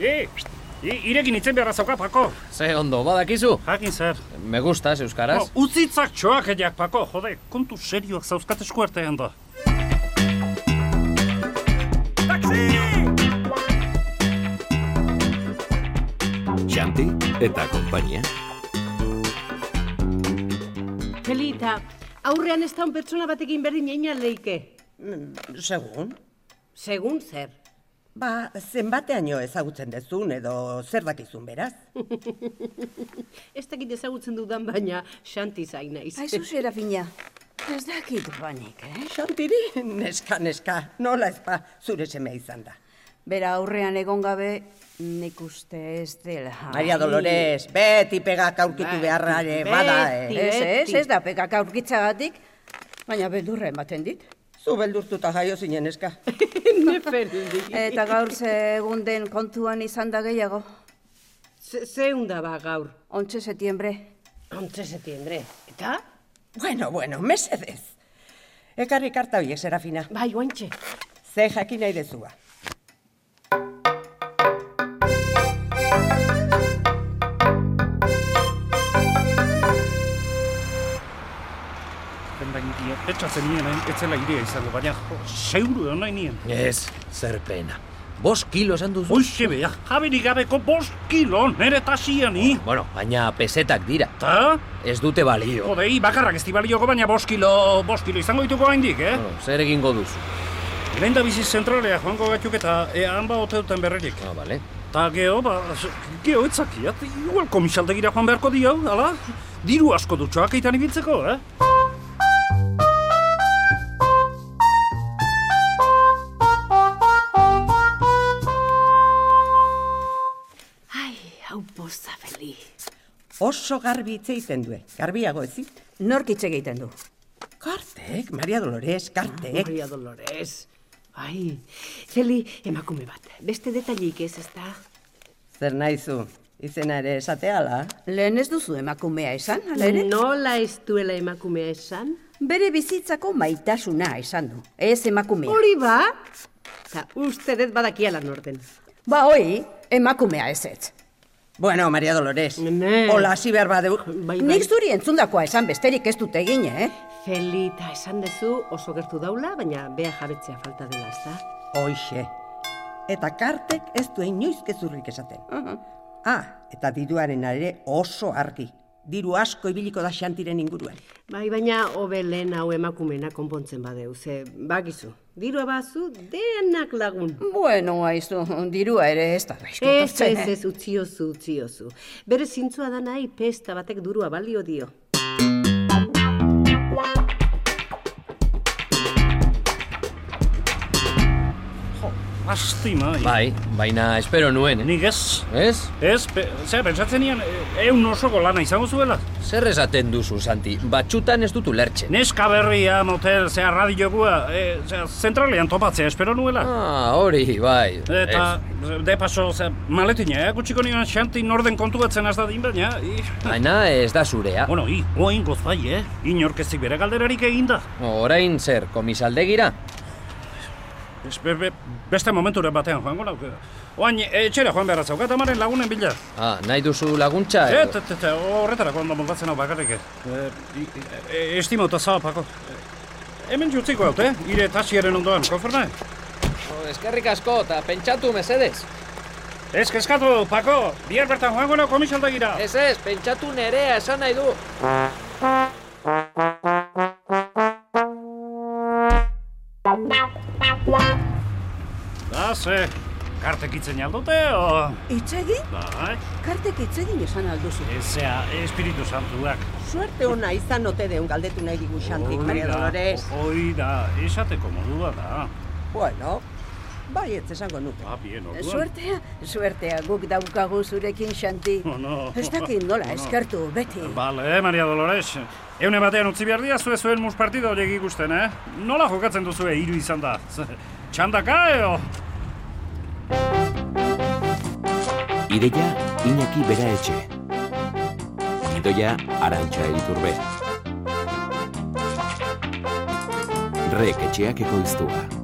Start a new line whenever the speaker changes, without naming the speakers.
E, i- irekin itzen beharra zauka, Pako.
Ze ondo, badakizu?
Jakin zer.
Me gustas euskaraz?
No, utzitzak txoakaiak, Pako. Jode, kontu serioak zauzkat eskuartean da.
Xanti eta konpainia.
Txelita, aurrean ez daun pertsona batekin berdin eina leike.
Segun?
Segun zer.
Ba, zenbateaino ezagutzen dezun edo zer dakizun beraz?
Ez dakit ezagutzen dudan baina Xanti zain naiz.
Aizu Serafina, ez dakit banik, eh?
Xantiri, neska, neska, nola ezpa zure semea izan da.
Bera aurrean egon gabe nik uste ez dela.
Maria Dolores, beti pegak aurkitu
Bai,
beharra ere
beti.
bada, eh.
Ez, ez, ez da pekak aurkitzagatik, baina beldurra ematen dit.
Zu beldurtuta jaio zinen, neska.
Neferdi.
Eta gaur segun den kontuan izan da gehiago.
Ze- Zeunda ba gaur.
Ontxe setiembre.
Ontze setiembre. Eta?
Bueno, bueno, mesedez. Ekarri karta horiek, Serafina.
Bai, oantxe.
Ze jakin nahi dezua.
Bendain dia, etxatzen nien, eh, etzela irea izango, baina jo, seuru nahi nien.
Ez, zer pena. Bos kilo esan duzu?
Hoxe beha, jaberik gabeko bost kilo nere tasiani.
Bueno, baina pesetak dira.
Ta?
Ez dute balio.
Jode, hi, bakarrak ez dibalioko, baina bost kilo, bost kilo izango dituko haindik, eh?
Bueno, zer egingo duzu?
Lehen da bizi zentralea joango gatzuk eta ean ba ote duten berrerik.
Ah, bale.
Ta geho, ba, z- geho etzakiat, igual komisaldegira joan beharko dio, ala? Diru asko dutxoak eitan ibiltzeko, eh?
Ai, hau poza feli.
Oso garbi hitz egiten due, garbiago ezi.
Nork hitz egiten du.
Kartek, Maria Dolores, kartek.
Eh? Ah, Maria Dolores. Ai, Zeli emakume bat. Beste detailik ez, ez da?
Zer nahi zu, izena ere esateala.
Lehen ez duzu emakumea esan, ala ere?
Nola Eh. ez duela emakumea esan?
Bere bizitzako maitasuna esan du, ez emakumea.
Hori ba? Eta uste dut badakiala norden.
Ba hoi, emakumea ez ez.
Bueno, Maria Dolores,
Ne.
hola, hasi behar badeu.
Bai,
Nik zuri entzundakoa esan besterik ez dut egin, eh?
Felita, esan dezu oso gertu daula, baina bea jabetzea falta dela, ez da?
Hoxe. Eta kartek ez du inoiz gezurrik esaten. Ah, eta diruaren ere oso argi. Diru asko ibiliko da xantiren inguruan.
Bai, baina hobe lehen hau emakumena konpontzen badeu, ze bakizu. Dirua bazu, denak lagun.
Bueno, aizu, dirua ere ez da gaizki
Ez,
etortzen,
ez,
eh?
ez, utziozu, utziozu. Bere zintzua da nahi pesta batek durua balio dio.
Lastima, eh?
Bai, baina espero nuen, eh?
Nik ez,
Ez?
ez, pe, zera, pentsatzen nian, eun osoko e, lana izango zuela.
Zer esaten duzu, Santi? Batxutan ez dut ulertzen.
Neska berria, motel, zea radiogua, e, zea, zentralean topatzea espero nuela.
Ah, hori, bai.
Eta, E, de paso, zea, maletina, eh? gutxiko nioan xanti norden kontu batzen az dadin, baina... I,
Ez. Baina ez da zurea.
bueno, i, oain goz bai, eh? Inorkezik bere galderarik eginda.
Orain zer, komisaldegira?
Ez, Be, be, beste momenturen batean joango nauke. Oain, e, etxera joan beharra zaukat, amaren lagunen bila.
Ah, nahi duzu laguntza? edo?
bai.
Et, et, et, horretarako ondo moldatzen hau bakarrik. Eh, i- e, Estimo eta zabapako. E, Hemen jutziko haute, eh? Ire tasiaren ondoan, konferna?
Oh, Eskerrik asko, eta pentsatu mesedez.
Ez kezkatu, Pako, bihar bertan joango nau komisaldegira.
Ez ez, pentsatu nerea esan nahi du.
Da, ze, kartek itzen aldute, o...
Hitz egin?
Bai,
Kartek hitz egin esan alduzu.
ez zea, espiritu santuak.
Suerte ona izan ote deun galdetu nahi digu xantik, Maria Dolores.
hoi da, esateko modua da.
Bueno, bai ez esango nuke.
Ba, bien, orduan.
Suertea, suertea guk daukagu zurekin xanti.
No, Oh, no. Oh,
Ez dakit nola,
No.
eskertu, beti.
Bale, eh, Maria Dolores. Eune batean utzi behar dia zue zuen mus partida horiek ikusten, eh? Nola jokatzen duzue hiru izan da? Ze, Txandaka, eo?
Ideia Iñaki Bera Etxe. Idoia Arantxa Iturbe. Rek etxeak ekoiztua.